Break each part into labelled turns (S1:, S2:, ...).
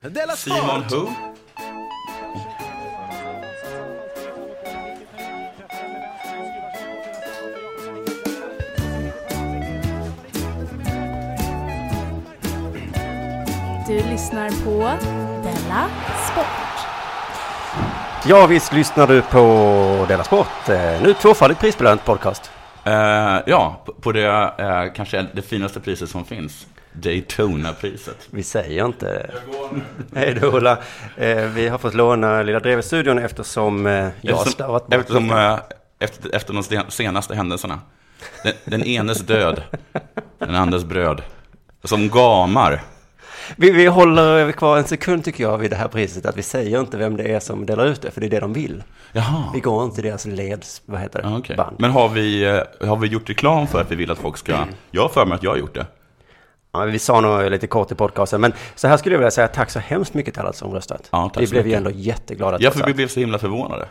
S1: Della
S2: Simon
S1: Smart!
S2: Who?
S3: Du lyssnar på Della Sport.
S4: Ja, visst lyssnar du på Della Sport. Eh, Nu tvåfaldigt prisbelönt podcast.
S2: Eh, ja, på- på det eh, kanske det finaste priset som finns. Daytona-priset.
S4: Vi säger inte... Hej då Ola. Eh, vi har fått låna Lilla Drevet-studion eftersom eh, jag har stavat bort
S2: eftersom, eh, efter, efter de sten- senaste händelserna. Den, den enes död, den andres bröd. Som gamar.
S4: vi, vi håller kvar en sekund tycker jag vid det här priset. Att vi säger inte vem det är som delar ut det, för det är det de vill.
S2: Jaha.
S4: Vi går inte i deras leds... Vad heter det?
S2: Ja, Ah, okej.
S4: Band.
S2: Men har vi, eh, har vi gjort reklam för att vi vill att folk
S4: Mm.
S2: ska... Jag har för mig att jag har gjort det.
S4: Ja, men vi sa nog lite kort i podcasten, men så här skulle jag vilja säga tack så hemskt mycket till alla som röstat.
S2: Ja, tack
S4: vi
S2: så
S4: blev ju
S2: mycket.
S4: ändå jätteglada.
S2: Ja,
S4: trots
S2: för vi
S4: allt.
S2: blev så himla förvånade.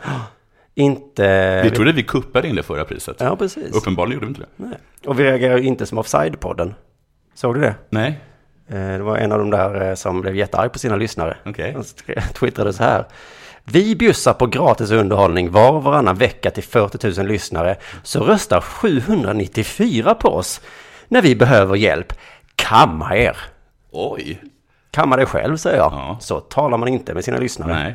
S4: Inte...
S2: Vi trodde vi kuppade in det förra priset.
S4: Ja, precis.
S2: Uppenbarligen gjorde vi inte det.
S4: Nej. Och vi reagerar ju inte som Offside-podden. Såg du det?
S2: Nej.
S4: Eh, Det var en av de där eh, som blev jättearg på sina lyssnare.
S2: Okej.
S4: Han skrev- twittrade så här. Vi bjussar på gratis underhållning var och varannan vecka till 40 000 lyssnare. Så röstar 794 på oss när vi behöver hjälp. Kamma er!
S2: Oj.
S4: Kamma dig själv säger jag.
S2: Ja.
S4: Så talar man inte med sina lyssnare.
S2: Nej.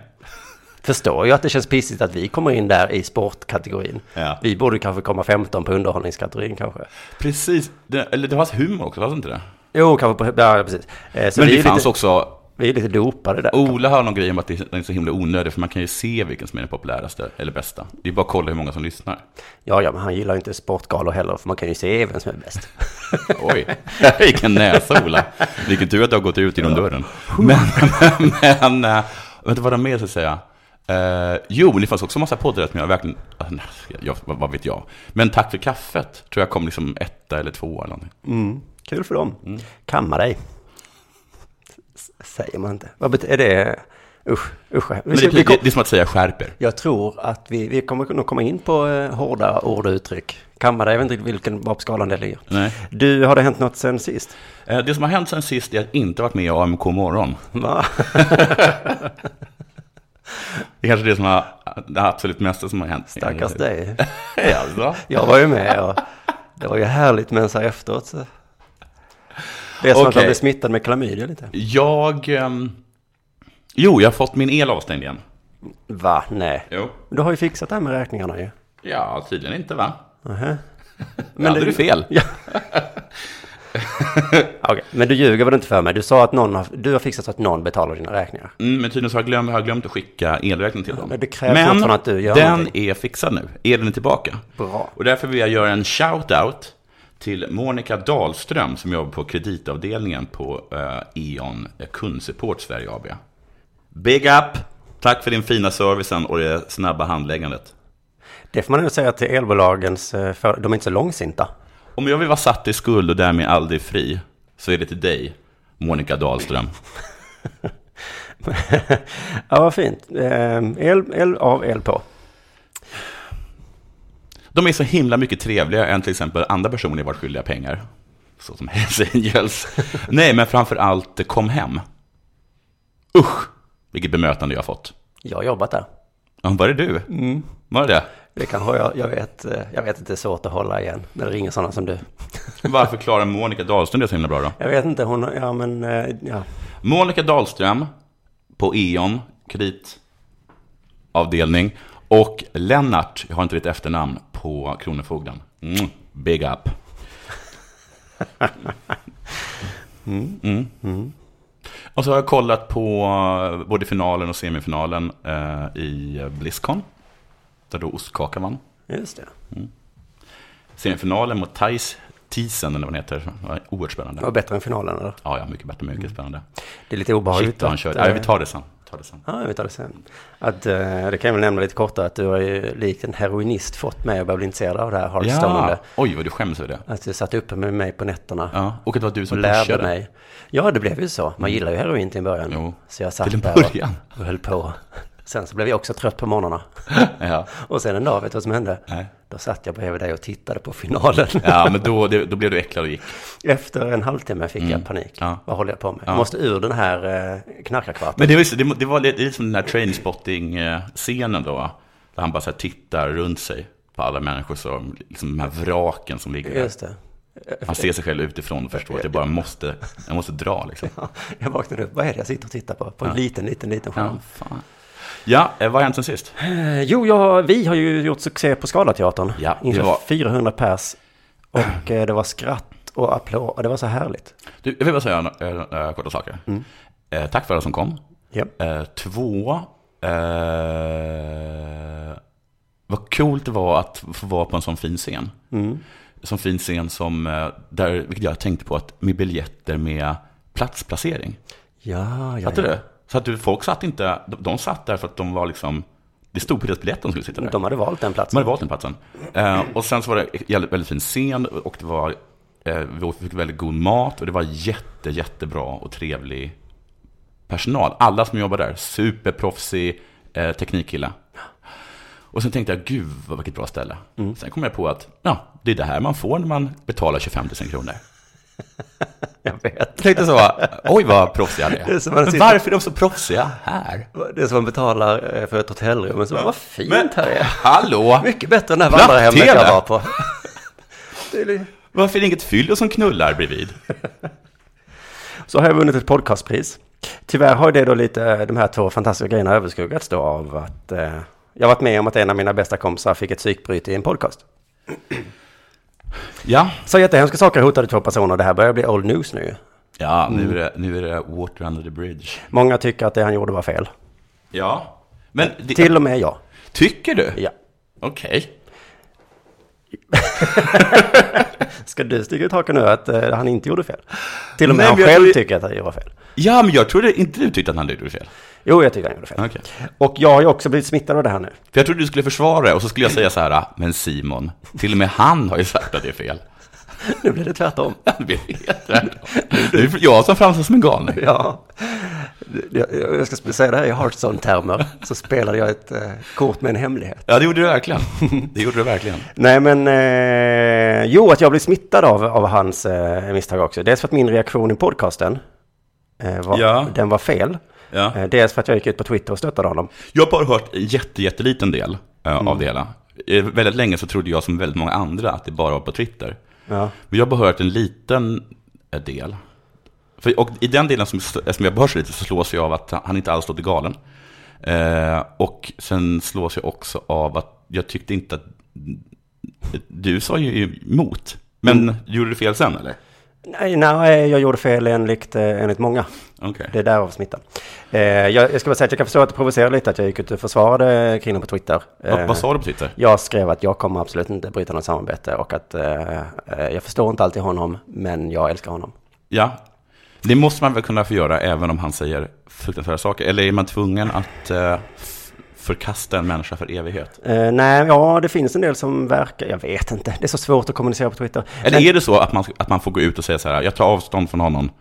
S4: Förstår ju att det känns pissigt att vi kommer in där i sportkategorin.
S2: Ja.
S4: Vi borde kanske komma 15 på underhållningskategorin kanske.
S2: Precis. Det, eller det fanns humor också, fanns det inte det?
S4: Jo, kanske på... Ja, precis. Eh, Så
S2: Men
S4: vi,
S2: det
S4: är
S2: fanns
S4: lite,
S2: också...
S4: vi är lite dopade där.
S2: Ola har någon grej om att det är så himla onödigt, för man kan ju se vilken som är den populäraste eller bästa. Det är bara att kolla hur många som lyssnar.
S4: Ja, ja, men han gillar ju inte sportgalor heller, för man kan ju se vem som är bäst.
S2: Oj, vilken näsa Ola. Vilken tur att du har gått ut genom dörren. Men, men, men äh, vänta, vad var det mer jag skulle säga? Eh, jo, det fanns också massa poddar som jag verkligen, ah, nej, jag, vad, vad vet jag. Men tack för kaffet, tror jag kom liksom etta eller tvåa eller någonting.
S4: Kul för dem.
S2: Mm.
S4: Kamma dig. S- Säger man inte. Vad bet- är det? Usch, usch. Vi
S2: Men
S4: ska,
S2: det,
S4: vi
S2: det,
S4: kom,
S2: det, är som att säga skärper.
S4: jag tror att vi, vi kommer nog komma in på eh, hårda ord och uttryck. Kamma dig, jag vet inte vilken, var på skalan det ligger.
S2: Nej.
S4: Du, har det hänt något sen sist?
S2: Eh, det som har hänt sen sist är att jag inte har varit med i AMK morgon.
S4: Va?
S2: Det är kanske det som har, det absolut mesta som har hänt.
S4: Stackars dig.
S2: Hej alltså.
S4: Jag var ju med och det var ju härligt, men så här efteråt så... Det är som att
S2: Okej.
S4: man blir smittad med klamydia lite.
S2: Jag, ehm, jo, jag har fått min el avstängd igen.
S4: Va? Nej.
S2: Jo.
S4: Du har ju fixat det här med räkningarna ju.
S2: Ja, tydligen inte va?
S4: Nähä.
S2: Men hade
S4: det-
S2: du fel.
S4: Ja. Okej, men du ljuger väl inte för mig? Du sa att någon har, du har fixat så att någon betalar dina räkningar.
S2: Mm, men tydligen så har jag glömt, har jag glömt att skicka elräkningen till dem.
S4: men det krävs fortfarande att du gör
S2: den
S4: någonting.
S2: är fixad nu. Elen är tillbaka.
S4: Bra.
S2: Och därför vill jag göra en shout-out till Monica Dahlström som jobbar på kreditavdelningen på eh, E.ON Kundsupport Sverige AB. Big up! Tack för din fina servicen och det snabba handläggandet.
S4: Det får man nog säga till elbolagens, eh, för, de är inte så långsinta.
S2: Om jag vill vara satt i skuld och därmed aldrig fri, så är det till dig, Monica Dahlström.
S4: ja, vad fint. Eh, El, el av, el på.
S2: De är så himla mycket trevligare än till exempel andra personer jag varit skyldiga pengar. Så som Hells Angels. Nej, men framför allt eh, Kom Hem. Usch, vilket bemötande jag har fått.
S4: Jag har jobbat där.
S2: Ja, var det du? Var det det?
S4: Det kan ha, jag, jag vet, eh, jag vet att det är svårt att hålla igen när det ringer sådana som du.
S2: Varför klarar Monica Dahlström det så himla bra då?
S4: Jag vet inte, hon, ja men, eh, ja.
S2: Monica Dahlström på E.ON, kreditavdelning. Och Lennart, jag har inte ditt efternamn, på Kronofogden. Mm, big up. Mm. Och så har jag kollat på eh, både finalen och semifinalen eh, i Blizzcon. Där då Ostkaka vann.
S4: Just det.
S2: Semifinalen mot Thais Tisen, eller vad den heter. Det var Oerhört spännande.
S4: Det var bättre än finalen eller?
S2: Ja, ja, mycket bättre, mycket spännande.
S4: Det är lite obehagligt.
S2: Shit vad han
S4: att,
S2: körde.
S4: eh,
S2: Nej, Mm. vi tar det sen. Vi Tar det sen.
S4: Ja, vi tar det sen. Att, eh, det kan jag väl nämna lite kortare, att du har ju likt en heroinist fått mig att börja bli intresserad av det här Hearthstone.
S2: Oj, vad du skäms över det.
S4: Att du satt uppe med mig på nätterna
S2: Ja, och att det var du
S4: och
S2: som
S4: lärde
S2: pushade. Mm.
S4: mig. Ja, det blev ju så. Man gillar ju heroin till en början.
S2: Jo,
S4: så jag
S2: till en
S4: satt där
S2: början.
S4: och, och höll på. Sen så blev jag också trött på morgnarna.
S2: Ja.
S4: Och sen en dag, vet du vad som hände?
S2: Nej.
S4: Då satt jag bredvid dig och tittade på finalen.
S2: Ja, men då, det, då blev du äcklad och gick.
S4: Efter en halvtimme fick jag panik.
S2: Mm. Ja.
S4: Vad håller jag på med?
S2: Ja.
S4: Jag måste ur den här eh, knarkarkvarten.
S2: Men det var, ju- det, det var lite, det är lite som den här trainspotting-scenen då. Där han bara så här tittar runt sig på alla människor, som, liksom de här vraken som ligger där.
S4: Just det.
S2: Han ser sig själv utifrån och förstår att jag bara måste, jag måste dra liksom.
S4: Ja, jag vaknade upp. Vad är det jag sitter och tittar på? På en liten, liten, liten skärm.
S2: Ja, fan. Ja, eh, vad har hänt sen sist?
S4: Eh, Jo, jag, vi har ju gjort succé på Scalateatern.
S2: Ja, det
S4: Inför
S2: var-
S4: 400 pers. Och eh, det var skratt och applåd. Och det var så härligt.
S2: Du, jag vill bara säga några korta saker.
S4: Mm.
S2: Eh, tack för alla som kom.
S4: Ja.
S2: Eh, två, eh, vad coolt det var att få vara på en sån fin scen. Sån fin scen som, eh, där, vilket jag tänkte på, att med biljetter med platsplacering.
S4: Ja, ja,
S2: Fattar
S4: ja.
S2: du? Så att du, folk satt inte, de, de satt där för att de var liksom, det stod på deras biljett de skulle sitta där.
S4: De hade valt den
S2: De
S4: platsen.
S2: hade valt den platsen. Eh, och sen så var det väldigt, väldigt fin scen och det var, eh, vi fick väldigt god mat och det var jätte, jättebra och trevlig personal. Alla som jobbar där, superproffsig eh, teknikkille. Och sen tänkte jag, gud vad- vilket bra ställe. Sen kom jag på att, ja, det är det här man får när man betalar 25 000 kronor.
S4: Jag vet.
S2: Jag tänkte så, oj vad proffsiga det
S4: Det är
S2: är.
S4: som att
S2: Men
S4: sitta-
S2: varför är de så proffsiga här?
S4: Det är som man betalar eh, för ett hotellrum. Men så, vad fint här är.
S2: Hallå!
S4: Mycket bättre än det här
S2: Platt
S4: vandrarhemmet
S2: tele.
S4: jag var på. Det är li-
S2: Varför är det inget fyllo som knullar bredvid?
S4: Så har jag vunnit ett podcastpris. Tyvärr har ju det då lite, de här två fantastiska grejerna överskuggats då av att eh, jag har varit med om att en av mina bästa kompisar fick ett psykbryt i en podcast.
S2: Ja,
S4: Så jättehemska saker hotade två personer. Det här börjar bli old news nu.
S2: Ja, nu, är det, nu är det water under the bridge.
S4: Många tycker att det han gjorde var fel.
S2: Ja. Men det,
S4: Till och med jag.
S2: tycker du?
S4: Ja.
S2: Okej.
S4: Ska du sticka ut haken nu att eh, han inte gjorde fel? Till och med
S2: Nej,
S4: han
S2: men jag
S4: själv
S2: tror-
S4: tycker att han gjorde fel.
S2: Ja, men jag trodde inte du tyckte att han gjorde fel.
S4: Jo, jag tycker han gjorde fel.
S2: Okej.
S4: Och jag har ju också blivit smittad av det här nu.
S2: För jag trodde du skulle försvara det och så skulle jag säga så här, "Ah, men Simon, till och med han har ju sagt att det är fel.
S4: Nu blir det tvärtom.
S2: Det blir helt tvärtom. Det är jag som framstår som en galning.
S4: Ja, jag, jag ska sp- säga det här i Hearthstone-termer. Så spelade jag ett eh, kort med en hemlighet.
S2: Ja, det gjorde du verkligen. Det gjorde du verkligen.
S4: Nej, men eh, jo, att jag blev smittad av, av hans eh, misstag också. Dels för att min reaktion i podcasten, eh, var,
S2: Ja.
S4: den var fel.
S2: Ja.
S4: Eh, dels för att jag gick ut på Twitter och stöttade honom.
S2: Jag har bara hört en jätte, jätteliten del eh,
S4: Mm.
S2: av det hela. Eh, väldigt länge så trodde jag som väldigt många andra att det bara var på Twitter.
S4: Ja.
S2: Men jag har bara hört en liten eh, del. För, och i den delen som, som jag bara hör så lite så slås jag av att han inte alls låter galen. Eh, och sen slås jag också av att jag tyckte inte att... Du sa ju emot. Men
S4: Mm.
S2: gjorde du fel sen eller?
S4: Nej, nej, jag gjorde fel enligt, eh, enligt många.
S2: Okej.
S4: Det är därav smittan. Eh, jag, jag ska bara säga att jag kan förstå att det provocerar lite att jag gick ut och försvarade kringen på Twitter.
S2: Vad,
S4: Eh,
S2: vad sa du på Twitter?
S4: Jag skrev att jag kommer absolut inte bryta något samarbete och att eh, eh, jag förstår inte alltid honom, men jag älskar honom.
S2: Ja. Det måste man väl kunna få göra även om han säger fruktansvärda saker. Eller är man tvungen att eh, f- förkasta en människa för evighet?
S4: Eh, nej, ja, det finns en del som verkar, jag vet inte, det är så svårt att kommunicera på Twitter.
S2: Eller är det så att man, att man får gå ut och säga så här, jag tar avstånd från honom,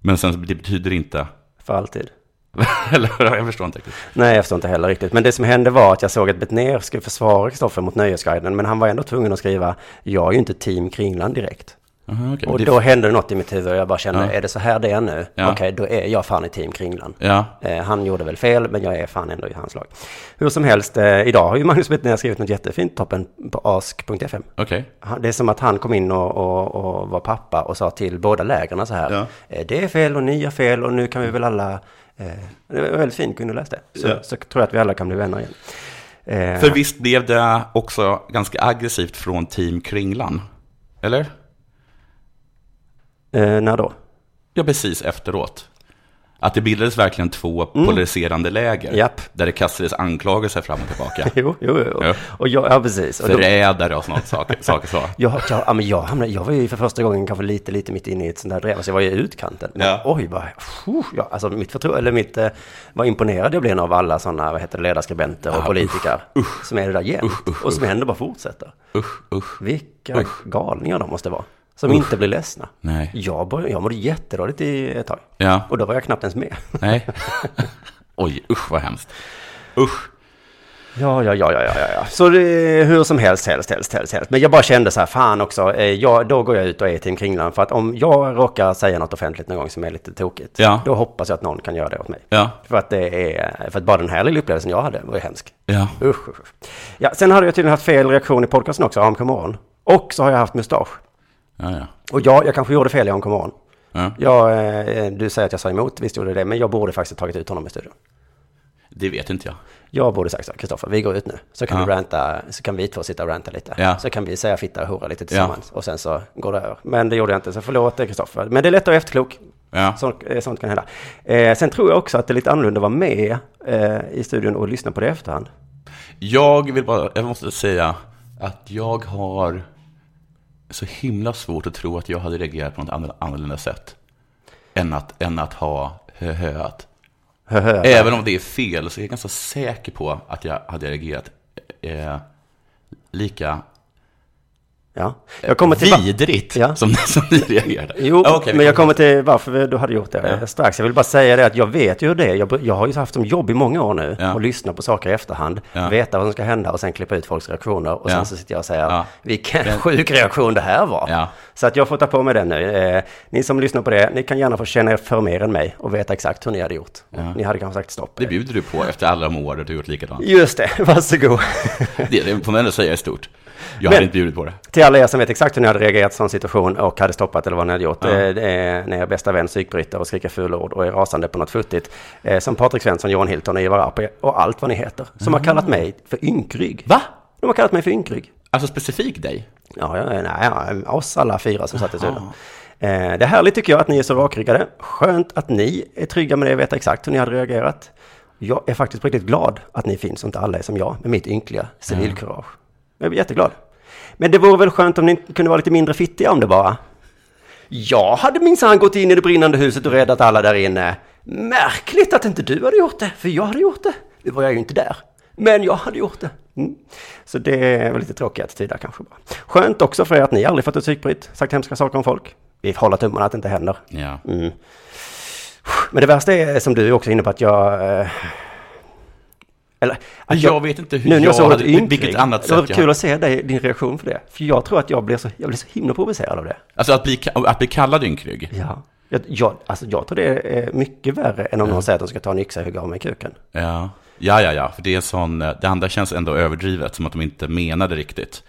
S2: men sen det betyder inte...
S4: För alltid.
S2: Eller jag förstår inte riktigt.
S4: Nej, jag förstår inte heller riktigt. Men det som hände var att jag såg att Betnér skulle försvara Kristoffer mot Nöjesguiden, men han var ändå tvungen att skriva, jag är ju inte team Kringland direkt.
S2: Aha, okej.
S4: Och
S2: Det-
S4: då hände det något i mitt huvud och jag bara kände, är det så här det är nu?
S2: Ja.
S4: Okej, då är jag fan i team Kringland.
S2: Ja,
S4: Eh, han gjorde väl fel, men jag är fan ändå i hans lag. Hur som helst, eh, idag har ju Magnus Betnér skrivit något jättefint toppen på ask.fm.
S2: okej.
S4: Han- Det är som att han kom in och, och, och var pappa och sa till båda lägren så här.
S2: Ja.
S4: eh, Det är fel och ni gör fel och nu kan vi väl alla... Eh, det var väldigt fint, kunde du läsa det? Så,
S2: Ja.
S4: så tror jag att vi alla kan bli vänner igen. Eh,
S2: För visst blev det också ganska aggressivt från Team Kringlan? Eller?
S4: eh, när då?
S2: Ja, precis efteråt. Att det bildades verkligen två polariserande läger.
S4: Mm. Japp.
S2: Där det kastades anklagelser fram och tillbaka.
S4: Jo, jo, jo.
S2: Ja.
S4: Och jag, ja, precis. Och då,
S2: Förrädare och sånt saker. saker så.
S4: jag, jag, ja, men jag, hamnade, jag var ju för första gången kanske lite, lite mitt inne i ett sånt där drev, så jag var ju i utkanten. Men,
S2: Ja.
S4: Oj, vad... Phew, ja, alltså mitt förtroende, eller mitt... Eh, vad imponerad jag blev av alla sådana, vad heter det, ledarskribenter
S2: Ah,
S4: och politiker. Som är det där jämt. och som ändå bara fortsätter.
S2: Usch, usch.
S4: Vilka galningar de måste vara. Som inte blir ledsna.
S2: Nej.
S4: Jag, började, jag mådde jättedåligt i ett tag.
S2: Ja.
S4: Och då var jag knappt ens med.
S2: Nej. Oj, usch vad hemskt. Usch.
S4: Ja, ja, ja, ja, ja, ja, ja. Så det, hur som helst, helst, helst, helst, helst. Men jag bara kände så här, fan också, eh, jag, då går jag ut och är Team Kringlan. För att om jag råkar säga något offentligt någon gång som är lite tokigt,
S2: Ja.
S4: då hoppas jag att någon kan göra det åt mig.
S2: Ja,
S4: För att det är, för att bara den här lilla upplevelsen jag hade var ju hemsk.
S2: ja.
S4: Usch, usch, usch. Ja, sen hade jag tydligen haft fel reaktion i podcasten också, AMK Morgon. Och så har jag haft mustasch.
S2: Ja, ja.
S4: Och ja, jag kanske gjorde fel i AMK Morgon.
S2: ja.
S4: Jag, eh, du säger att jag sa emot, visst gjorde jag det, men jag borde faktiskt ha tagit ut honom i studion.
S2: Det vet inte jag.
S4: Jag borde sagt så, här, Kristoffer, vi går ut nu. Så kan,
S2: Ja.
S4: du ranta, så kan vi två sitta och ranta lite.
S2: Ja.
S4: Så kan vi säga fitta och hora lite tillsammans. Och sen så går det över. Men det gjorde jag inte, så förlåt dig Kristoffer. Men det är lätt att vara efterklok.
S2: Ja.
S4: Sånt, eh, sånt kan hända. Eh, sen tror jag också att det är lite annorlunda att vara med eh, i studion och lyssna på det i efterhand.
S2: Jag vill bara, jag måste säga att jag har så himla svårt att tro att jag hade reagerat på något annor- annorlunda sätt än att, än att ha höhöat.
S4: Höhö.
S2: Även om det är fel så är jag ganska säker på att jag hade reagerat eh, lika
S4: Ja. Jag kommer till...
S2: vidrigt
S4: Ja.
S2: som, som ni reagerade.
S4: Jo,
S2: Ja, okej, vi
S4: men jag kommer till varför vi- du hade gjort det eh, strax. Jag vill bara säga det att jag vet ju hur det. är. Jag, br- jag har ju haft som jobb i många år nu
S2: Ja.
S4: och lyssna på saker i efterhand,
S2: Ja.
S4: veta vad som ska hända och sen klippa ut folks reaktioner. Och
S2: Ja.
S4: sen så sitter jag och säger
S2: Ja.
S4: vilken sjuk reaktion det här var.
S2: Ja.
S4: Så att jag får ta på mig den nu. Eh, ni som lyssnar på det, ni kan gärna få känna er för mer än mig och veta exakt hur ni hade gjort. Ni hade kanske sagt stopp.
S2: Det bjuder du på efter alla de år du har gjort likadant.
S4: Just det, varsågod.
S2: Det, det får man ändå säga är stort. Jag
S4: Men-
S2: hade inte bjudit på det.
S4: Till alla er som vet exakt hur ni hade reagerat i sån situation och hade stoppat eller vad ni hade gjort. Eh, det är när er bästa vän psykbryter och skriker fula ord och är rasande på något futtigt. Eh, som Patrik Svensson, Johan Hilton, Ivar Arpi och allt vad ni heter. Som har kallat mig för ynkrygg.
S2: Va?
S4: De har kallat mig för ynkrygg.
S2: Alltså specifikt dig?
S4: Ja, ja, nej, ja, oss alla fyra som satt i studion. Eh, det är härligt tycker jag att ni är så rakryggade. Skönt att ni är trygga med det och vet exakt hur ni hade reagerat. Jag är faktiskt på riktigt glad att ni finns och inte alla är som jag med mitt ynkliga civilkurage. Jag blir jätteglad. Men det vore väl skönt om ni kunde vara lite mindre fittiga om det bara. Jag hade minsann gått in i det brinnande huset och räddat alla där inne. Märkligt att inte du hade gjort det, för jag hade gjort det. Nu var jag ju inte där, men jag hade gjort det. Mm. Så det är väl lite tråkiga attityder kanske bara. Skönt också för er att ni aldrig fått ett psykbryt, sagt hemska saker om folk. Vi håller tummarna att det inte händer.
S2: Ja.
S4: Men det värsta är, som du är också inne på, att jag... eh, Eller,
S2: Men
S4: att
S2: jag vet inte hur
S4: nu när
S2: jag
S4: jag såg
S2: hade-
S4: ordet ynklig,
S2: vilket annat
S4: Det var
S2: sätt jag
S4: kul
S2: hade.
S4: att se dig, din reaktion för det. För jag tror att jag blev så, jag blev så himla provocerad av det.
S2: Alltså att bli, ka- att bli kallad ynkrygg.
S4: Ja. Jag, jag, alltså jag tror det är mycket värre än om
S2: Mm.
S4: någon säger att de ska ta en yxa och hugga av mig kuken.
S2: Ja. ja, ja, ja. För det, är en sån, eh, det andra känns ändå överdrivet, som att de inte menade riktigt.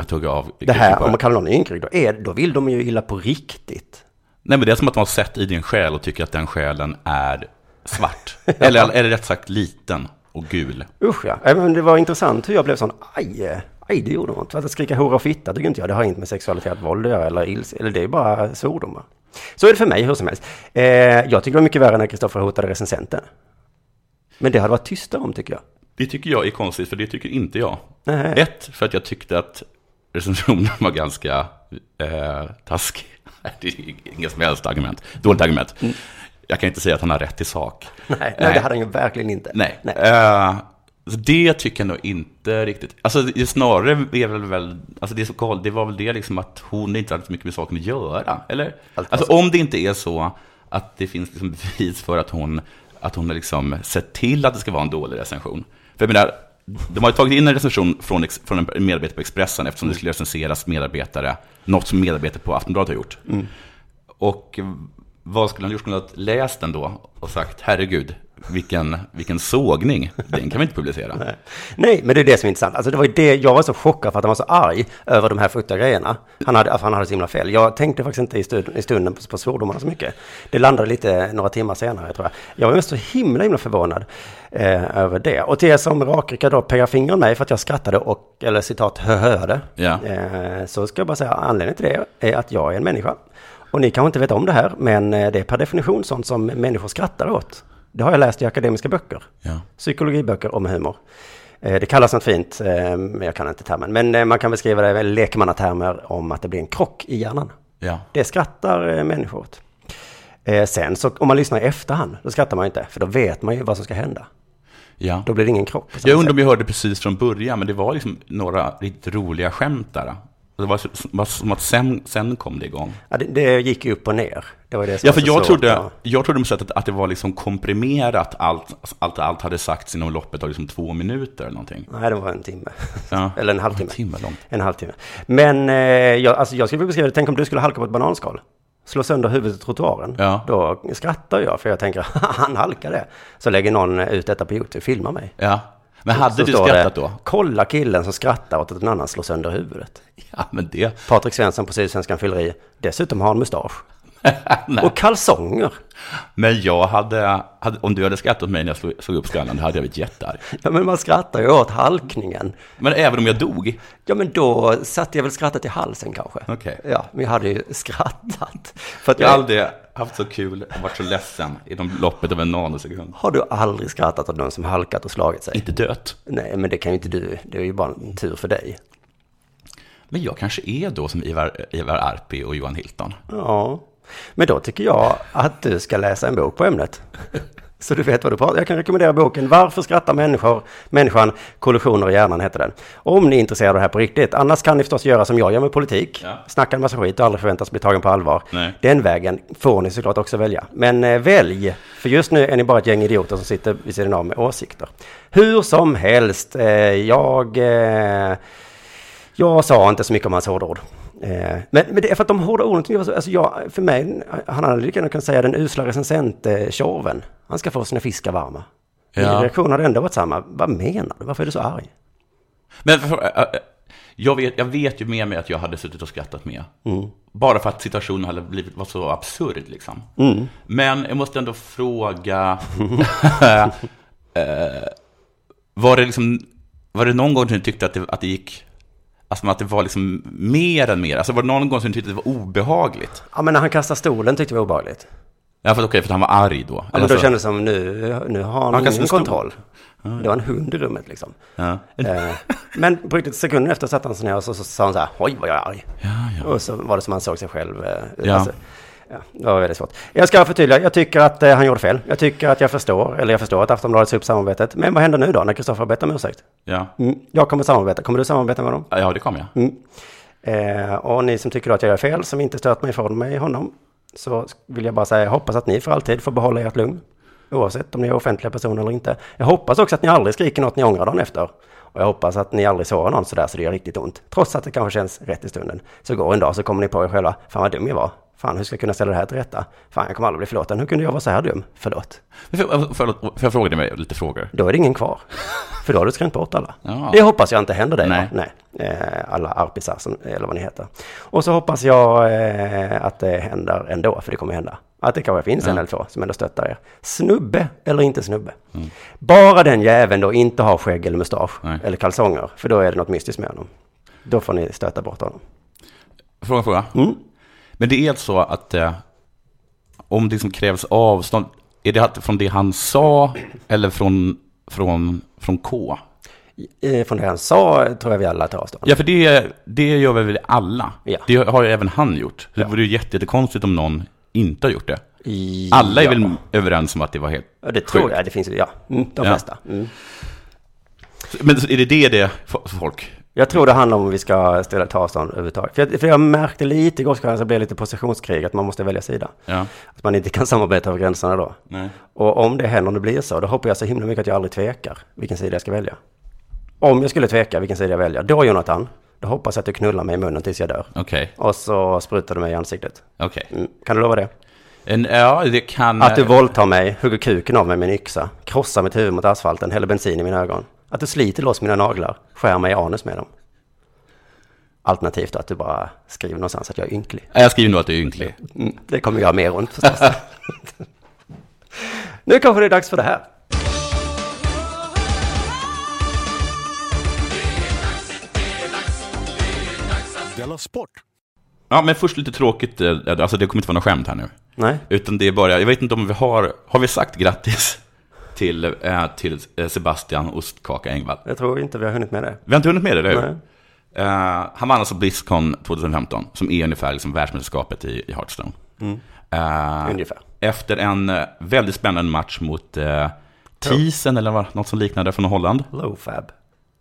S2: Att hugga av.
S4: Mm. Det här, om man kallar någon ynkrig, då, är, då vill de ju illa på riktigt.
S2: Nej, men det är som att de har sett i din själ och tycker att den själen är svart. eller, eller rätt sagt liten och gul.
S4: Usch ja. Äh, Men det var intressant hur jag blev sån, aj, eh, aj det gjorde ont. För att skrika hora och fitta tycker inte jag, det har inget med sexualitet, våld att göra eller ilse, eller det är bara svordomar. Så är det för mig hur som helst. Eh, jag tycker det var mycket värre när Kristoffer hotade recensenten. Men det hade varit tystare om tycker jag.
S2: Det tycker jag är konstigt, för det tycker inte jag.
S4: Nej.
S2: Ett, för att jag tyckte att recensionen var ganska eh, taskig. Det är inget som helst argument. Dåligt argument. Jag kan inte säga att han har rätt i sak.
S4: Mm. Nej,
S2: Eh,
S4: nej.
S2: Nej.
S4: det hade han ju verkligen inte.
S2: Nej. Eh, så det tycker jag nog inte riktigt. Alltså det- snarare är väl väl, alltså det, som galet, det var väl det liksom att hon inte hade så mycket med saken att göra, eller? Alltså om det inte är så att det finns liksom bevis för att hon, att hon har liksom sett till att det ska vara en dålig recension. För jag menar, de har ju tagit in en recension från, ex- från en medarbetare på Expressen eftersom det skulle recenseras medarbetare, något som medarbetare på Aftonbladet har gjort. Och vad skulle han gjort? Skulle han ha läst den då och sagt herregud, vilken, vilken sågning, den kan vi inte publicera.
S4: Nej, men det är det som är intressant. Alltså det var ju det, jag var så chockad för att han var så arg över de här fruktiga grejerna. Han hade, alltså han hade så himla fel. Jag tänkte faktiskt inte i stunden, i stunden på, på svordomarna så mycket. Det landade lite några timmar senare tror jag. Jag var mest så himla, himla förvånad eh, över det. Och till er som rakryckar då pekar fingrar mig för att jag skrattade och, eller citat, höhöde.
S2: Ja.
S4: Eh, så ska jag bara säga, anledningen till det är att jag är en människa. Och ni kanske inte vet om det här, men eh, det är per definition sånt som människor skrattar åt. Det har jag läst i akademiska böcker
S2: Ja.
S4: psykologiböcker om humor. Eh, Det kallas något fint, eh, men jag kan inte termen. Men eh, man kan beskriva det i lekmannatermer om att det blir en krock i hjärnan.
S2: Ja.
S4: Det skrattar eh, människor åt. Eh, Sen så om man lyssnar i efterhand, då skrattar man ju inte, för då vet man ju vad som ska hända.
S2: Ja.
S4: Då blir det ingen krock. på samma
S2: Jag undrar
S4: sätt.
S2: om jag hörde precis från början, men det var liksom några riktigt roliga skämt där. Det var, var som att sen, sen kom det igång. Alltså,
S4: Ja, det, det gick ju upp och ner. Det var det som
S2: Ja,
S4: var
S2: för
S4: så
S2: jag
S4: svårt,
S2: trodde,
S4: ja.
S2: jag trodde på sättet att det var liksom komprimerat allt, allt, allt hade sagts inom loppet av liksom två minuter eller någonting.
S4: Nej, det var en timme.
S2: Ja.
S4: Eller en
S2: En
S4: halvtimme.
S2: timme långt.
S4: En halvtimme. Men eh, jag, alltså, jag skulle vilja beskriva det, tänk om du skulle halka på ett bananskal. Slå sönder huvudet i trottoaren.
S2: Ja.
S4: Då skrattar jag för jag tänker, han halkade. Så lägger någon ut detta på YouTube, filma mig.
S2: Ja. Men hade
S4: Så
S2: du
S4: står det,
S2: skrattat då?
S4: Kolla killen som skrattar åt att en annan slår sönder huvudet.
S2: Ja, men det...
S4: Patrik Svensson på Sydsvenskan fyller i. Dessutom har han mustasch. och kalsonger.
S2: Men jag hade, hade, om du hade skrattat åt mig när jag slog, slog upp skallen, då hade jag blivit jättearg.
S4: Ja, men man skrattar ju åt halkningen.
S2: Men även om jag dog,
S4: Ja, men då satte jag väl skrattet i halsen kanske.
S2: Okej.
S4: Ja, men jag hade ju skrattat. För att
S2: jag
S4: jag,
S2: har aldrig haft så kul och varit så ledsen inom loppet av en nanosekund.
S4: Har du aldrig skrattat åt någon som halkat och slagit sig?
S2: Inte dött.
S4: Nej, men det kan ju inte du. Det är ju bara en tur för dig.
S2: Men jag kanske är då som Ivar, Ivar Arpi och Johan Hilton.
S4: Ja, men då tycker jag att du ska läsa en bok på ämnet. Så du vet vad du pratar Jag kan rekommendera boken Varför skrattar människor? Människan, kollisioner i hjärnan heter den. Om ni är intresserade av det här på riktigt. Annars kan ni förstås göra som jag gör med politik.
S2: Ja.
S4: Snacka en massa skit och aldrig förväntas bli tagen på allvar.
S2: Nej.
S4: Den vägen får ni såklart också välja. Men eh, välj, för just nu är ni bara ett gäng idioter som sitter vid sidan av med åsikter. Hur som helst, eh, jag... Eh, jag sa inte så mycket om hans hårda ord. Eh, men, men det är för att de hårda orden tycker jag var så, alltså jag, för mig, han hade lika gärna kunnat säga den usla recensent-tjorven. Han ska få sina fiskar varma. Min
S2: Ja.
S4: reaktion hade ändå varit samma. Vad menar du? Varför är du så arg?
S2: Men för, äh, äh, jag, vet, jag vet ju med mig att jag hade suttit och skrattat med.
S4: Mm.
S2: Bara för att situationen hade blivit, var så absurd liksom.
S4: Mm.
S2: Men jag måste ändå fråga, eh, var det liksom, var det någon gång du tyckte att det, att det gick, alltså att det var liksom mer än mer? Alltså var det någon gång som du tyckte att det var obehagligt?
S4: Ja, men när han kastade stolen tyckte vi var obehagligt.
S2: Ja, för att, okej, för att han var arg då.
S4: Ja, men
S2: Alltså,
S4: då kändes det som nu, nu har han,
S2: Han kastade
S4: ingen
S2: en stol.
S4: kontroll. Det var en hund i rummet liksom.
S2: ja.
S4: Eh, men på riktigt, sekunden efter satt han sig ner och så, så sa han så här, oj vad jag är arg. Och så var det som han såg sig själv. eh,
S2: Ja.
S4: ja, det var väldigt svårt. Jag ska förtydliga, jag tycker att eh, han gjorde fel. Jag tycker att jag förstår, eller jag förstår att Aftonbladet sa upp samarbetet. Men vad händer nu då när Kristoffer har bett om ursäkt?
S2: ja.
S4: Mm, jag kommer samarbeta, kommer du samarbeta med dem?
S2: ja, det kom jag.
S4: Mm. Eh, och ni som tycker då att jag gör fel, som inte stört mig ifrån mig honom, så vill jag bara säga, jag hoppas att ni för alltid får behålla ert lugn. Oavsett om ni är offentliga personer eller inte. Jag hoppas också att ni aldrig skriker något ni ångrar dagen efter. Och jag hoppas att ni aldrig sårar någon sådär så det gör riktigt ont. Trots att det kanske känns rätt i stunden. Så går en dag så kommer ni på er själva, fan vad dum jag var. Fan hur ska jag kunna ställa det här till rätta? Fan jag kommer aldrig bli förlåten, hur kunde jag vara så här dum? Förlåt.
S2: Men För, förlåt, får jag fråga dig med lite frågor?
S4: Då är det ingen kvar. För då har du skrämt bort alla.
S2: Ja.
S4: Det hoppas jag inte händer dig.
S2: Nej.
S4: va? Nej. Eh, Alla arpisar, som, eh, eller vad ni heter. Och så hoppas jag eh, att det händer ändå, för det kommer hända. Att det kanske finns en eller två som ändå stöttar er. Snubbe eller inte snubbe. Bara den jäveln då inte har skägg eller mustasch
S2: Mm. Nej.
S4: eller kalsonger, för då är det något mystiskt med honom. Då får ni stöta bort honom.
S2: Fråga, fråga. Men det är så att eh, om det liksom krävs avstånd, är det att- från det han sa eller från, från, från K?
S4: Eh, Från det han sa eh, tror jag vi alla tar avstånd.
S2: Ja, för det, det gör väl alla?
S4: Ja.
S2: Det har ju även han gjort. Så Det vore ju jätte- jättekonstigt om någon inte har gjort det.
S4: I-
S2: Alla är
S4: ja.
S2: väl överens om att det var helt...
S4: Ja, Det tror
S2: sjukt.
S4: jag, det finns ju, ja, mm, de
S2: Ja.
S4: flesta. Mm.
S2: Men så är det det, det f- folk...
S4: Jag tror det handlar om om vi ska ställa ta avstånd överhuvudtaget. För jag, för jag märkte lite igår så blev det lite positionskrig, att man måste välja sida.
S2: Ja.
S4: Att man inte kan samarbeta över gränserna då.
S2: Nej.
S4: Och om det händer, om det blir så, då hoppas jag så himla mycket att jag aldrig tvekar vilken sida jag ska välja. Om jag skulle tveka vilken sida jag väljer, då Jonathan, då hoppas jag att du knullar mig i munnen tills jag dör.
S2: Okej,
S4: Och så sprutar du mig i ansiktet.
S2: okej.
S4: Mm. Kan du lova det?
S2: En- Ja, det kan...
S4: Att du våldtar mig, hugger kuken av mig med en yxa, krossar mitt huvud mot asfalten, häller bensin i mina ögon. Att du sliter loss mina naglar, skär mig i anus med dem. Alternativt att du bara skriver någonstans att jag är ynklig.
S2: Jag skriver nog att du är ynklig.
S4: Mm, det kommer göra mer ont förstås. nu kanske det är dags för det här.
S1: Della Sport!
S2: Ja, men först lite tråkigt, eh, alltså det kommer inte vara något skämt här nu.
S4: Nej,
S2: Utan det är bara, jag vet inte om vi har, har vi sagt grattis till, eh, till eh, Sebastian Ostkaka Engvall?
S4: jag tror inte vi har hunnit med det.
S2: Vi har inte hunnit med det, eller hur?
S4: Nej.
S2: Eh, han vann alltså Blizzcon 2015, som är ungefär liksom världsmästerskapet i, i Hearthstone.
S4: Mm.
S2: Eh,
S4: Ungefär.
S2: Efter en eh, väldigt spännande match mot eh, Thiessen, eller vad, något som liknade från Holland.
S4: Lowfab.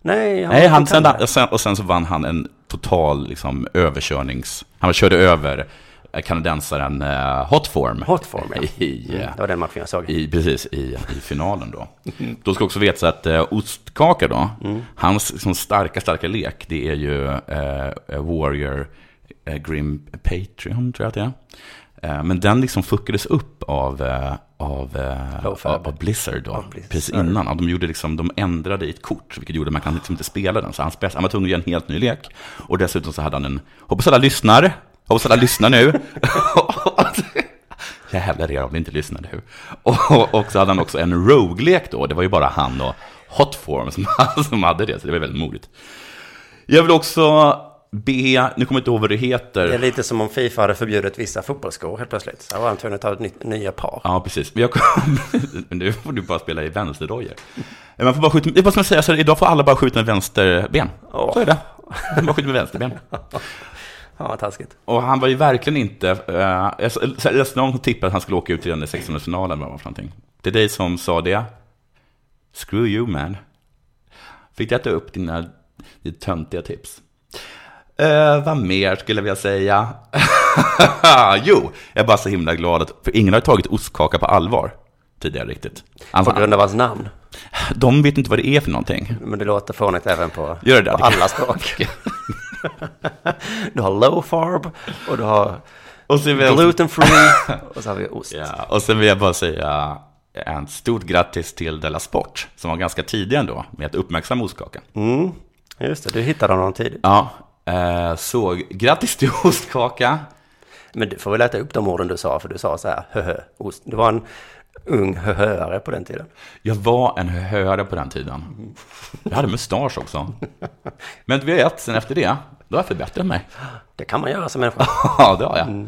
S4: Nej, han
S2: Nej,
S4: var
S2: han,
S4: inte
S2: sen,
S4: sämre.
S2: och, sen, och sen så vann han en total liksom, överkörnings... Han körde över eh, kanadensaren eh, Hotform.
S4: Hotform, ja. Mm,
S2: I, eh,
S4: Det var den matchen jag såg.
S2: i, precis, i, i finalen då. Då ska också veta så att eh, Ostkaka då, hans liksom, starka, starka lek, det är ju eh, Warrior eh, Grim Patreon, tror jag att det är. Eh, Men den liksom fuckades upp av, eh, av, eh,
S4: Low Fab.
S2: av, av Blizzard då,
S4: Av Blizzard.
S2: precis innan. Ja, de, gjorde liksom, de ändrade i ett kort, vilket gjorde att man kan liksom inte spela den. Så han, spelade, han var tvungen att göra en helt ny lek. Och dessutom så hade han en, hoppas alla lyssnar, hoppas alla lyssnar nu. Jag hävdar er om ni inte lyssnade. hur? Och, och så hade han också en rogue-lek då. Det var ju bara han och Hotform som, som hade det, så det var väldigt modigt. Jag vill också be, nu kommer jag inte ihåg vad det heter.
S4: Det är lite som om Fifa hade förbjudit vissa fotbollsskor helt plötsligt. Så var han tvungen att ta ett nytt, nya par.
S2: Ja, precis. Men jag kom... Men nu får du bara spela i vänsterdojor. Man får bara skjuta... Det är bara som jag säger, så idag får alla bara skjuta med vänsterben. Så är det. Man bara skjuter med vänsterben.
S4: Ja, vad taskigt.
S2: Och han var ju verkligen inte... eh, jag så- jag läste någon som tippade att han skulle åka ut redan i 1600-finalen. Vad det var för någonting. Det är dig som sa det. Screw you man. Fick jag ta upp dina, dina töntiga tips? Eh, vad mer skulle jag vilja säga? jo, jag är bara så himla glad att för ingen har tagit ostkaka på allvar tidigare riktigt.
S4: På
S2: Alltså,
S4: grund av hans namn.
S2: de vet inte vad det är för någonting.
S4: Men det låter fånigt även på,
S2: Gör det?
S4: på alla språk. du har low farb och du har
S2: Och så vill jag också-
S4: gluten free och så har vi ost.
S2: Ja, och sen vill jag bara säga en stort grattis till Della Sport, som var ganska tidig ändå med att uppmärksamma ostkakan.
S4: Mm, just det, du hittade honom tidigt.
S2: Ja, eh, så grattis till ostkaka.
S4: Men du får väl äta upp de orden du sa, för du sa så här, höhö, ost. Du var en ung höhöare på den tiden.
S2: Jag var en höra på den tiden. Jag hade mustasch också. Men du vet, sen efter det, då har jag förbättrat mig.
S4: Det kan man göra som människa.
S2: Ja, det har jag.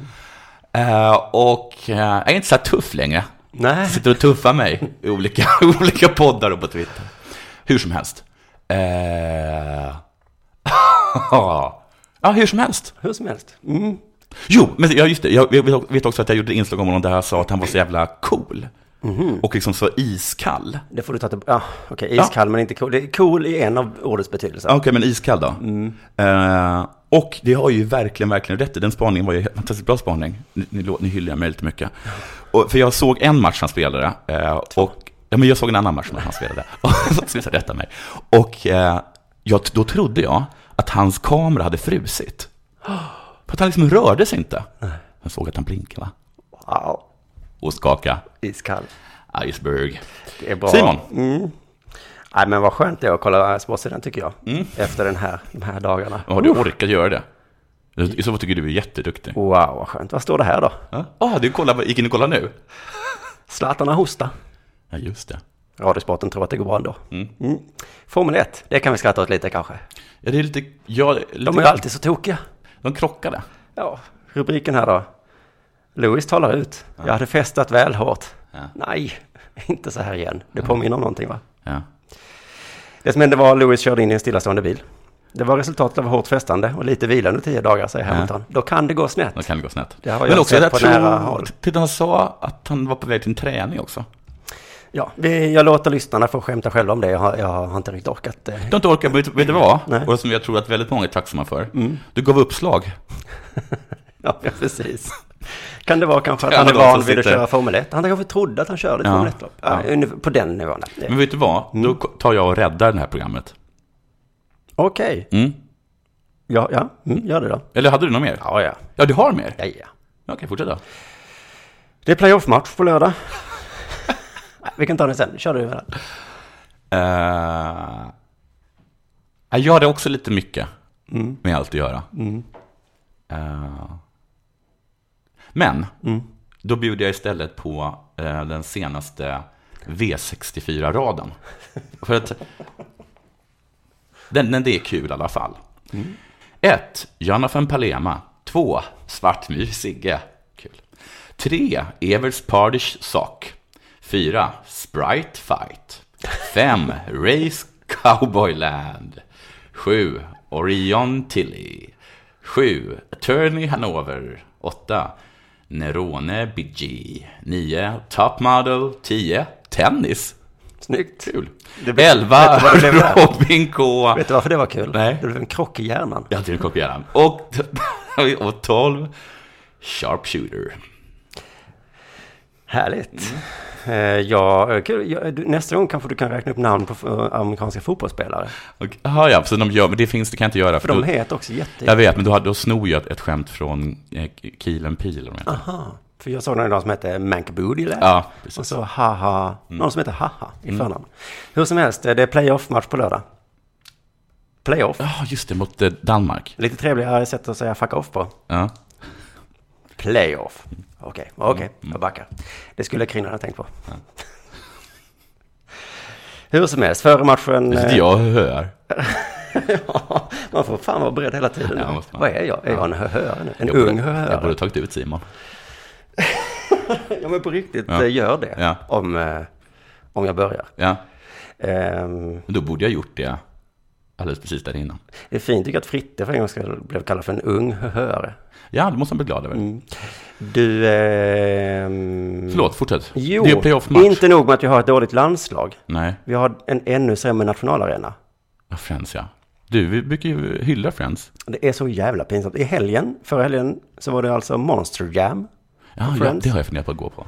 S2: Eh, och eh, jag är inte så här tuff längre.
S4: Nej,
S2: sitter och tuffar mig i olika, olika poddar och på Twitter. Hur som helst. Eh... ja, hur som helst.
S4: hur som helst. Mm.
S2: Jo, men ja, just det. Jag vet- vet också att jag gjorde ett inslag om honom där jag sa att han var så jävla cool. Och liksom så iskall.
S4: Det får du ta tillbaka. Ja, okej, iskall men inte cool. Det är cool i en av ordets betydelser.
S2: Ja, Okej, men iskall då. Eh, och det har ju verkligen, verkligen rätt i. Den spaningen var ju en fantastiskt bra spaning. Ni, ni, lå- ni hyllar mig lite mycket. Och, för jag såg en match han spelade. eh, och, ja, men jag såg en annan match när han spelade. Och Sluta rätta mig. Och eh, jag, då trodde jag att hans kamera hade frusit. För att han liksom rörde sig inte. Jag såg att han blinkade, va?
S4: Wow,
S2: Ostkaka,
S4: iskall.
S2: iceberg.
S4: Det är bra.
S2: Simon.
S4: Mm. Nej, men vad skönt det är att kolla sportsidan tycker jag.
S2: Mm.
S4: Efter den här, de här dagarna.
S2: Har du orkat göra det? I så fall tycker du är jätteduktig.
S4: Wow, vad skönt. Vad står det här då?
S2: Ja, ah, du kollar, gick in och kollade nu?
S4: Zlatan har hosta.
S2: Ja, just det.
S4: Radiosporten tror att det går bra ändå. Mm. Formel 1, det kan vi skratta åt lite kanske.
S2: Ja, det är lite... Ja, lite
S4: De är ju alltid så tokiga.
S2: de krockade.
S4: Ja, rubriken här då. Louis talar ut. Jag hade festat väl hårt.
S2: Ja.
S4: Nej, inte så här igen. Det påminner om någonting va?
S2: Ja.
S4: Det som hände var att Lewis körde in i en stillastående bil. Det var resultatet av hårt festande och lite vila under tio dagar, säger Hamilton. Då kan det gå snett.
S2: Då kan det gå snett.
S4: Det har jag sett på nära håll.
S2: Titta, han sa att han var på väg till en träning också.
S4: Ja, vi, jag låter lyssnarna få skämta själva om det. Jag har, jag har inte riktigt orkat. Eh.
S2: Du har inte orkat, vet vet du vad?
S4: Nej. Mm.
S2: Och som jag tror att väldigt många är tacksamma för. Du gav uppslag.
S4: Ja, ja, precis. Kan det vara kanske att
S2: Ja,
S4: han är
S2: de som
S4: van vid att
S2: sitter-
S4: köra Formel 1? Han kanske trodde att han körde ett
S2: Ja,
S4: Formel 1-lopp. Ja,
S2: ja.
S4: ungefär På den nivån. Det-
S2: Men vet du vad? Då
S4: Mm.
S2: tar jag och räddar det här programmet.
S4: Okej,
S2: Mm.
S4: ja, ja. Mm, gör det då.
S2: Eller hade du något mer?
S4: Ja, ja.
S2: Ja, du har mer?
S4: ja, ja.
S2: Ja, Okej, fortsätt då.
S4: Det är playoff-match på lördag. Nej, Vi kan ta den sen. Kör du med den.
S2: Eh, ja, jag hade också lite mycket med allt att göra. Eh, men, då bjuder jag istället på eh, den senaste V64-raden. För att den, den, det är kul i alla fall. 1. Johanna van Palema. 2. Svartmyr Sigge. Kul. 3. Evers Pardish Sock. 4. Sprite Fight. 5. Race Cowboyland. 7. Orion Tilly. 7. Attorney Hanover. 8. Nerone BG. 9. Top Model. 10. Tennis.
S4: Snyggt.
S2: Kul.
S4: Det blev-
S2: Elva,
S4: vet du vad det blev där?
S2: Robin K.
S4: Vet du varför det var kul?
S2: Nej.
S4: Det blev en krock i hjärnan.
S2: Jag har till kock i hjärnan. Och, och 12, Sharpshooter.
S4: Härligt. Eh, ja, eh, kul. Ja, du, nästa gång kanske du kan räkna upp namn på eh, amerikanska fotbollsspelare.
S2: Och- Jaha, ja, så de gör, men det finns, det kan jag inte göra.
S4: För
S2: För
S4: de
S2: då,
S4: heter också jätte...
S2: jag vet, men då, hade- då snor jag ett, ett skämt från eh, Kilen Pil. om jag inte-
S4: Aha. För jag såg någon som hette Mank Booty Lab.
S2: Ja, precis.
S4: Och så haha.
S2: Mm.
S4: Någon som heter haha i förnamn. Hur som helst, eh, det är playoff-match på lördag. Playoff.
S2: Ja, just det, mot eh, Danmark.
S4: Lite trevligare sätt att säga fuck off på.
S2: Ja.
S4: Playoff.
S2: Mm.
S4: Okej, okej, jag backar. Det skulle Kringlan ha tänkt på. Hur som helst, före matchen...
S2: Det
S4: eh,
S2: sitter jag och hör.
S4: Ja, man får fan vara beredd hela tiden.
S2: Ja, måste man.
S4: Vad är jag? Är jag en höhöare nu? En
S2: Jag
S4: ung
S2: borde, jag borde
S4: höhöare?
S2: tagit ut Simon.
S4: Ja, men på riktigt,
S2: Ja.
S4: eh, gör det.
S2: Ja.
S4: Om, eh, om jag börjar.
S2: Ja,
S4: Ehm,
S2: men då borde jag gjort det alldeles precis där innan.
S4: Det är fint tycker jag att Fritte för en gång skull blev kallad för en ung höhöare.
S2: Ja, det måste man bli glad över.
S4: Mm. Du... ehm,
S2: Förlåt, fortsätt.
S4: Jo,
S2: det är playoff-match.
S4: inte nog med att vi har ett dåligt landslag.
S2: Nej,
S4: Vi har en ännu sämre nationalarena.
S2: ja, Friends ja. Du, vi brukar ju hylla Friends.
S4: Det är så jävla pinsamt. I helgen, förra helgen, så var det alltså Monster Jam.
S2: Ja, ja,
S4: Friends.
S2: det har jag funderat på att gå på.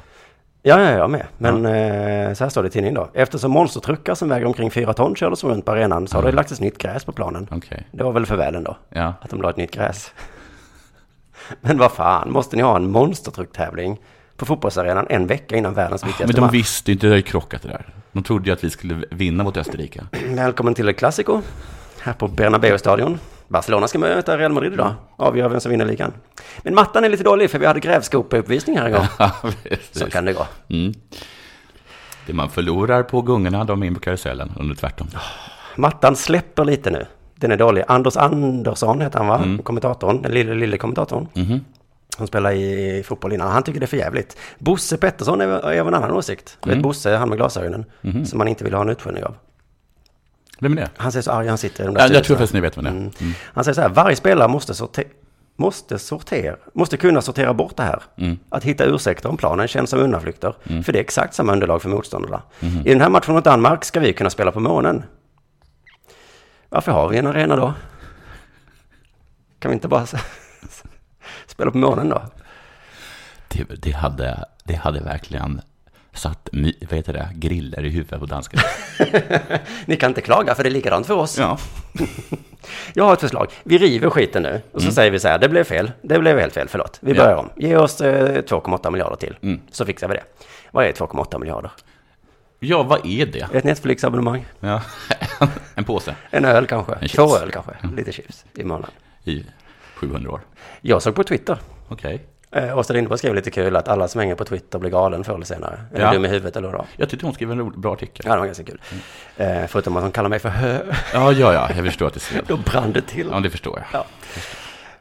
S4: Ja, ja, jag med. Men eh, så här står det i tidningen då. Eftersom monstertruckar som väger omkring fyra ton kördes runt på arenan så har det lagts ett nytt gräs på planen.
S2: Mm. Okej.
S4: Det var väl för väl ändå,
S2: Ja.
S4: att de la ett nytt gräs. Men vad fan, måste ni ha en monstertrucktävling på fotbollsarenan en vecka innan världens
S2: Ah, Men
S4: viktigaste
S2: de
S4: match?
S2: visste ju inte, det har ju krockat det där. De trodde ju att vi skulle vinna mot Österrike.
S4: Välkommen till El Clasico, här på Bernabéu-stadion. Barcelona ska möta Real Madrid
S2: Mm.
S4: idag, avgör vem som vinner ligan. Men mattan är lite dålig för vi hade grävskopeuppvisning här en gång.
S2: Ja, precis.
S4: Så kan det gå.
S2: Mm. Det man förlorar på gungorna, de är in på karusellen. Och det är tvärtom.
S4: Mattan släpper lite nu. Den är dålig. Anders Andersson heter han va?
S2: Mm.
S4: Kommentatorn, den lille, lille kommentatorn. Mm.
S2: Mhm.
S4: Han spelade i fotboll innan. Han tycker det är för jävligt. Bosse Pettersson är, är av en annan åsikt.
S2: Mm.
S4: Du Vet Bosse, han med glasögonen.
S2: Mhm.
S4: Som man inte vill ha en utskällning av.
S2: Vem är det?
S4: Han säger så arg han sitter i de där
S2: Ja, jag tror
S4: styrelserna.
S2: faktiskt ni vet vem det är. Mm.
S4: Han säger så här, varje spelare måste sortera. Måste sortera, måste kunna sortera bort det här. Att hitta ursäkter om planen känns som undanflykter. För det är exakt samma underlag för motståndarna. I den här matchen mot Danmark ska vi kunna spela på månen. Varför har vi en arena då? Kan vi inte bara spela på månen då?
S2: Det, det, hade, det hade verkligen satt my- vad heter det, griller i huvudet på danskarna.
S4: Ni kan inte klaga för det är likadant för oss.
S2: Ja.
S4: Jag har ett förslag. Vi river skiten nu och så säger vi så här, det blev fel, det blev helt fel, förlåt. Vi
S2: Mm. Ja. Mm.
S4: börjar om. Ge oss eh, 2,8 miljarder till, så fixar vi det. Vad är 2,8 miljarder?
S2: ja, vad är det?
S4: Ett Netflix-abonnemang,
S2: Ja. en påse
S4: en öl kanske,
S2: chips.
S4: två öl kanske, lite chips i månaden.
S2: i 700 år.
S4: Jag såg på Twitter,
S2: Okej.
S4: eh, Åsa Lindberg skrev lite kul att alla som hänger på Twitter blir galen förr eller senare. Eller
S2: Ja.
S4: dum i huvudet eller vad
S2: Jag tyckte hon skrev en rolig, bra artikel.
S4: Ja, det var ganska kul.
S2: Mm.
S4: Eh, förutom att hon kallar mig för hö,
S2: Ja, ja, ja, jag förstår att det skrev.
S4: då brann det till.
S2: Ja, det förstår jag.
S4: Ja.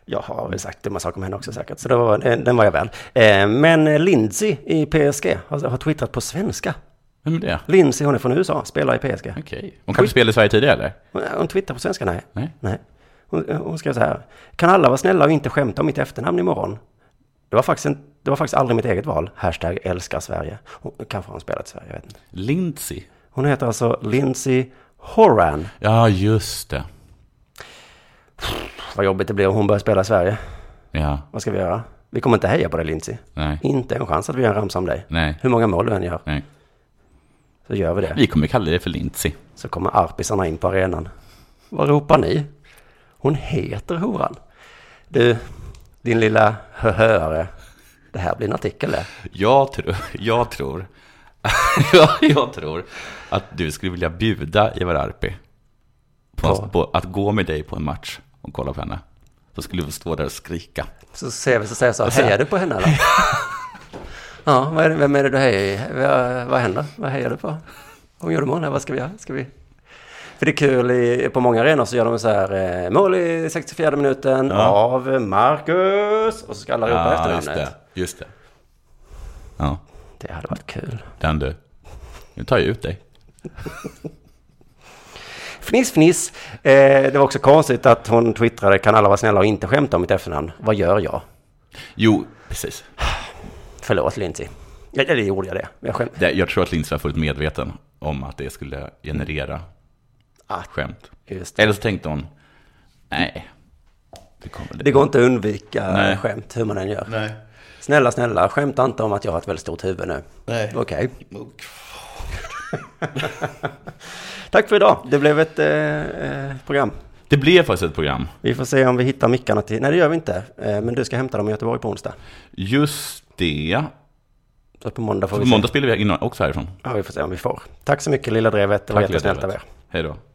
S4: Jag har väl sagt dumma saker om henne också säkert, så det var, eh, den var jag väl. Eh, Men eh, Lindsay i PSG har, har twittrat på svenska.
S2: Vem är det?
S4: Lindsay, hon är från USA, spelar i PSG.
S2: Okej. Hon kanske spelade i Sverige tidigare, eller?
S4: Hon, hon twittrar på svenska, nej.
S2: Nej.
S4: Hon, hon skrev så här. Kan alla vara snälla och inte skämta om mitt efternamn imorgon? Det var faktiskt, en, det var faktiskt aldrig mitt eget val. Hashtag älskar Sverige. Hon, kanske har hon spelat i Sverige, jag vet inte.
S2: Lindsay.
S4: Hon heter alltså Lindsay Horan.
S2: Ja, just det.
S4: Vad jobbigt det blir om hon börjar spela i Sverige.
S2: Ja,
S4: Vad ska vi göra? Vi kommer inte heja på dig, Lindsay.
S2: nej.
S4: Inte en chans att vi gör en ramsa om dig.
S2: Nej.
S4: Hur många mål du än gör,
S2: nej.
S4: så gör vi det.
S2: Vi kommer kalla det för Lindsay.
S4: Så kommer arpisarna in på arenan. Vad ropar ni? Hon heter horan. Du, din lilla höhöare. Det här blir en artikel det.
S2: Jag tror, jag tror, jag, jag tror att du skulle vilja bjuda Ivar Arpi på,
S4: På?
S2: på att gå med dig på en match och kolla på henne. Så skulle du stå där och skrika.
S4: Så ser vi så säger jag så, hejar du på henne eller? Ja, vad är det, vem är det du hejar vad, vad händer? Vad hejar du på? Hon gjorde mål här, vad ska vi göra? Ska vi... För det är kul, i, på många arenor så gör de så här, eh, mål i 64 minuten av Marcus! Och så ska alla ropa efter
S2: just
S4: namnet.
S2: det. Just det. Ja,
S4: det hade varit kul.
S2: den du. Nu tar jag ut dig.
S4: Fniss, fniss. Eh, det var också konstigt att hon twittrade kan alla vara snälla och inte skämta om mitt efternamn. Vad gör jag?
S2: Jo, precis.
S4: Förlåt Lindsay. Ja, det gjorde jag det. Jag skämt...
S2: Det, jag tror att Lindsay var fullt medveten om att det skulle generera
S4: Att-
S2: skämt.
S4: Just det.
S2: Eller så tänkte hon, nej, det kommer
S4: det går inte att undvika
S2: Nej.
S4: skämt hur man än gör.
S2: Nej.
S4: Snälla, snälla, skämta inte om att jag har ett väldigt stort huvud nu.
S2: Nej.
S4: Okej. Tack för idag. Det blev ett eh, eh, program.
S2: Det blev faktiskt ett program.
S4: Vi får se om vi hittar mickarna till... Nej, det gör vi inte. Eh, men du ska hämta dem i Göteborg på onsdag.
S2: Just det.
S4: Så på måndag får
S2: På
S4: vi se.
S2: måndag spelar vi in också härifrån.
S4: Ja, vi får se om vi får. Tack så mycket, Lilla Drevet. Det var
S2: Tack,
S4: jättesnällt av
S2: Lennart.
S4: er.
S2: Hej då.